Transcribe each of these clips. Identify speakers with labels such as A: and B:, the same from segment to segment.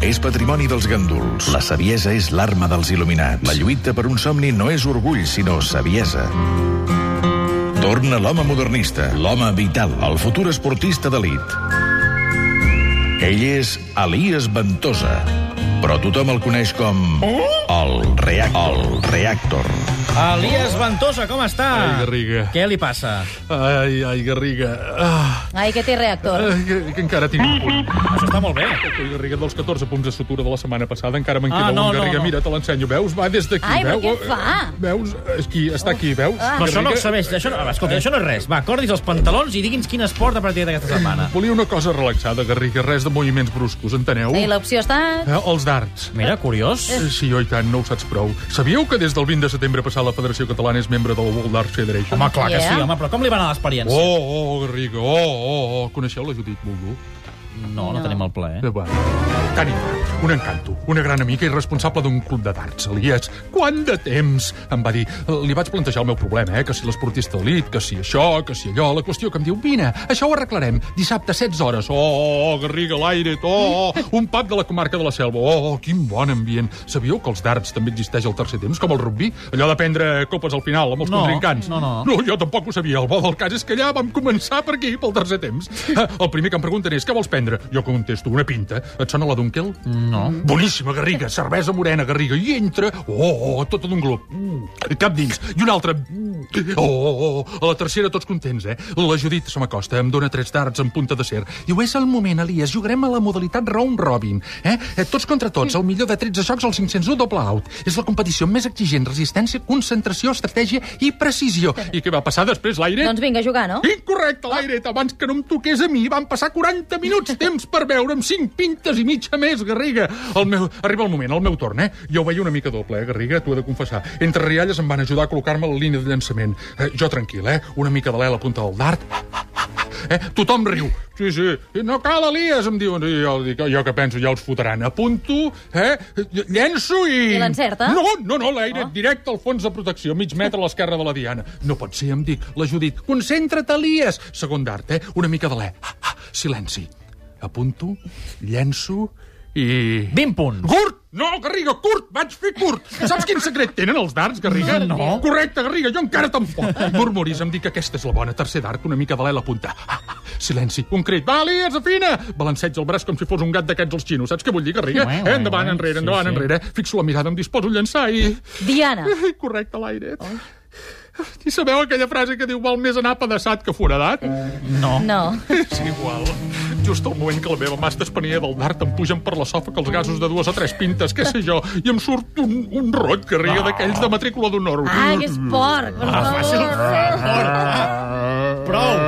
A: és patrimoni dels ganduls. La saviesa és l'arma dels il·luminats. La lluita per un somni no és orgull, sinó saviesa. Torna l'home modernista, l'home vital, el futur esportista d'elit. Ell és Elias Ventosa, però tothom el coneix com... El, reac el Reactor.
B: Elias Ventosa, com està?
C: Ai, Garriga.
B: Què li passa?
C: Ai, ai, Garriga. Ah,
D: Ai, que té reactor.
C: ai, que, que encara tinc un punt.
B: Això està molt bé.
C: Ai, Garriga, dels 14 punts de sutura de la setmana passada, encara me'n
B: Ah,
C: queda
B: no,
C: un,
B: no,
C: Garriga.
B: no.
C: Mira, te l'ensenyo. Veus? Va des d'aquí,
D: Ai, però
C: veu?
D: què fa?
C: Veus? Aquí, està aquí, veus?
B: Oh. Ah. Però això no serveix. Això no, escolta, això no és res. Va, acordis els pantalons i digui'ns quin esport ha practicat aquesta setmana.
C: Volia una cosa relaxada, Garriga, res de moviments bruscos, enteneu?
D: I l'opció està...
C: Eh, els darts. Eh,
B: Mira, curiós.
C: Sí, oi tant, no ho saps prou. Sabíeu que des del 20 de setembre passat la Federació Catalana és membre de la World Darts Federation?
B: Home, clar que sí,
D: Yeah.
B: home, però com li va anar
C: Oh,
B: l'experiència?
C: oh, Garriga, oh, oh, oh. Coneixeu la Judit Bulgú?
B: No, no tenim el plaer.
C: Eh, va. Tani, un encanto, una gran amica i responsable d'un club de darts, Elias. Quant de temps! Em va dir, li vaig plantejar el meu problema, eh? que si l'esportista elit, que si això, que si allò, la qüestió que em diu, vine, això ho arreglarem, dissabte, 16 hores. Oh, oh, oh Garriga, l'aire, oh, oh, un pub de la comarca de la Selva, oh, oh, quin bon ambient. Sabíeu que els darts també existeix al tercer temps, com el rugby? Allò de prendre copes al final amb els
B: No,
C: contrincants.
B: no, no.
C: No, jo tampoc ho sabia. El bo del cas és que allà vam començar per aquí, pel tercer temps. Eh, El primer que em pregunten és què vols prendre? Jo contesto, una pinta. Et sona la Dunkel? No. Boníssima, Garriga, cervesa morena, Garriga. I entra, oh, oh tota d'un glob. Mm, cap dins. I una altra. Mm, Oh, oh, oh. A la tercera tots contents, eh? La Judit se m'acosta, em dóna tres darts en punta de ser. Diu, és el moment, Elias, jugarem a la modalitat round robin. Eh? Eh, Tots contra tots, el millor de 13 jocs al 501 doble out. És la competició més exigent, resistència, concentració, estratègia i precisió. I què va passar després, l'aire?
D: Doncs vinga, a jugar, no? Oh.
C: Incorrecte, l'aire. Abans que no em toqués a mi, van passar 40 minuts temps per veure'm cinc pintes i mitja més, Garriga. El meu... Arriba el moment, el meu torn, eh? Jo ho veia una mica doble, eh, Garriga, t'ho he de confessar. Entre rialles em van ajudar a col·locar-me a la línia de llançament. Eh, jo tranquil, eh? Una mica de l'e a la punta del dart. Eh? Tothom riu. Sí, sí. I No cal, Elias, em diuen. I jo, dic, jo que penso, ja els fotran. Apunto, eh? Ll- Llenço i...
D: I l'encerta?
C: No, no, no, l'aire, directe al fons de protecció, mig metre a l'esquerra de la Diana. No pot ser, em dic, la Judit. Concentra't, Elias. Segon d'art, eh? Una mica de l'e. Ah, ah, silenci. Apunto, llenço i...
B: 20 punts.
C: Curt! No, Garriga, curt! Vaig fer curt! Saps quin secret tenen els darts, Garriga? No. Correcte, Garriga, jo encara tampoc. Murmuris, em dic que aquesta és la bona. Tercer dart, una mica de l'e a la punta. Ah, ah, silenci, un crit. Va, Elias, afina! Balanceig el braç com si fos un gat d'aquests els xinos. Saps què vull dir, Garriga?
B: Ué, ué,
C: Eh, endavant,
B: ué.
C: enrere,
B: Sí,
C: endavant,
B: sí.
C: enrere. Fixo la mirada, em disposo a llançar i...
D: Diana.
C: Ai, Correcte, l'aire. I sabeu aquella frase que diu val més anar pedaçat que foradat?
B: No.
D: No.
C: És igual. Just al moment que la meva mà estespania del dart em pugen per l'esòfag els gasos de dues a tres pintes, què sé jo, i em surt un, un rot que ria d'aquells de matrícula d'honor.
D: Ah, que és porc, per favor.
B: Prou.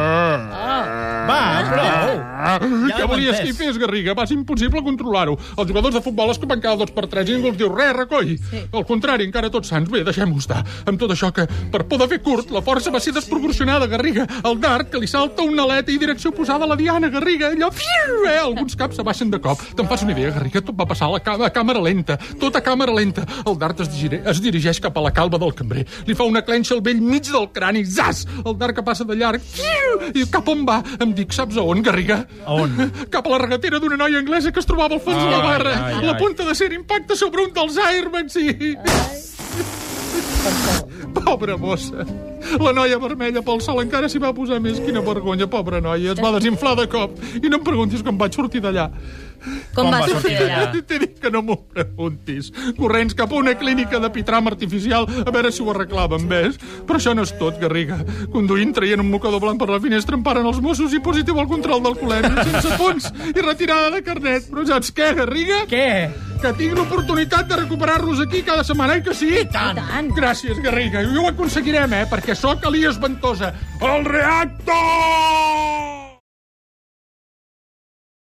B: Va, prou. ja
C: Què
B: ho
C: volies
B: he
C: que hi
B: entès.
C: fes, Garriga? Va ser impossible controlar-ho. Els jugadors de futbol es copen cada dos per tres i ningú els diu res, recoll. Sí. Al contrari, encara tots sants. Bé, deixem-ho estar. Amb tot això que, per poder fer curt, la força va ser desproporcionada, Garriga. El dart, que li salta una aleta i direcció posada a la diana, Garriga. Allò, fiu, eh? Alguns caps se baixen de cop. Te'n fas una idea, Garriga? Tot va passar a, la cà- a càmera lenta. Tot a càmera lenta. El dart es, digire, es dirigeix cap a la calva del cambrer. Li fa una clenxa al vell mig del crani. Zas! El dart que passa de llarg. Fiu! I cap on va? Em dic, saps a on, Garriga?
B: A on?
C: cap a la regatera d'una noia anglesa que es trobava al fons de la
B: Ai,
C: barra.
B: ai, ai.
C: La punta de ser impacta sobre un dels airbags i... Pobra mossa. La noia vermella pel sol encara s'hi va posar més. Quina vergonya, pobra noia. Es va desinflar de cop. I no em preguntis com vaig sortir d'allà.
D: Com va sortir d'allà?
C: T'he dit que no m'ho preguntis. Corrents cap a una clínica de pitram artificial a veure si ho arreglaven, ves? Però això no és tot, Garriga. Conduint, traient un mocador blanc per la finestra, em paren els Mossos i positiu al control del col·legi, sense punts i retirada de carnet. Però saps què, Garriga?
B: Què?
C: Que tinc l'oportunitat de recuperar-los aquí cada setmana, eh que sí? I
D: tant. I tant.
C: Gràcies, Garriga. I ho aconseguirem, eh? Perquè sóc Elias Ventosa, el reactor!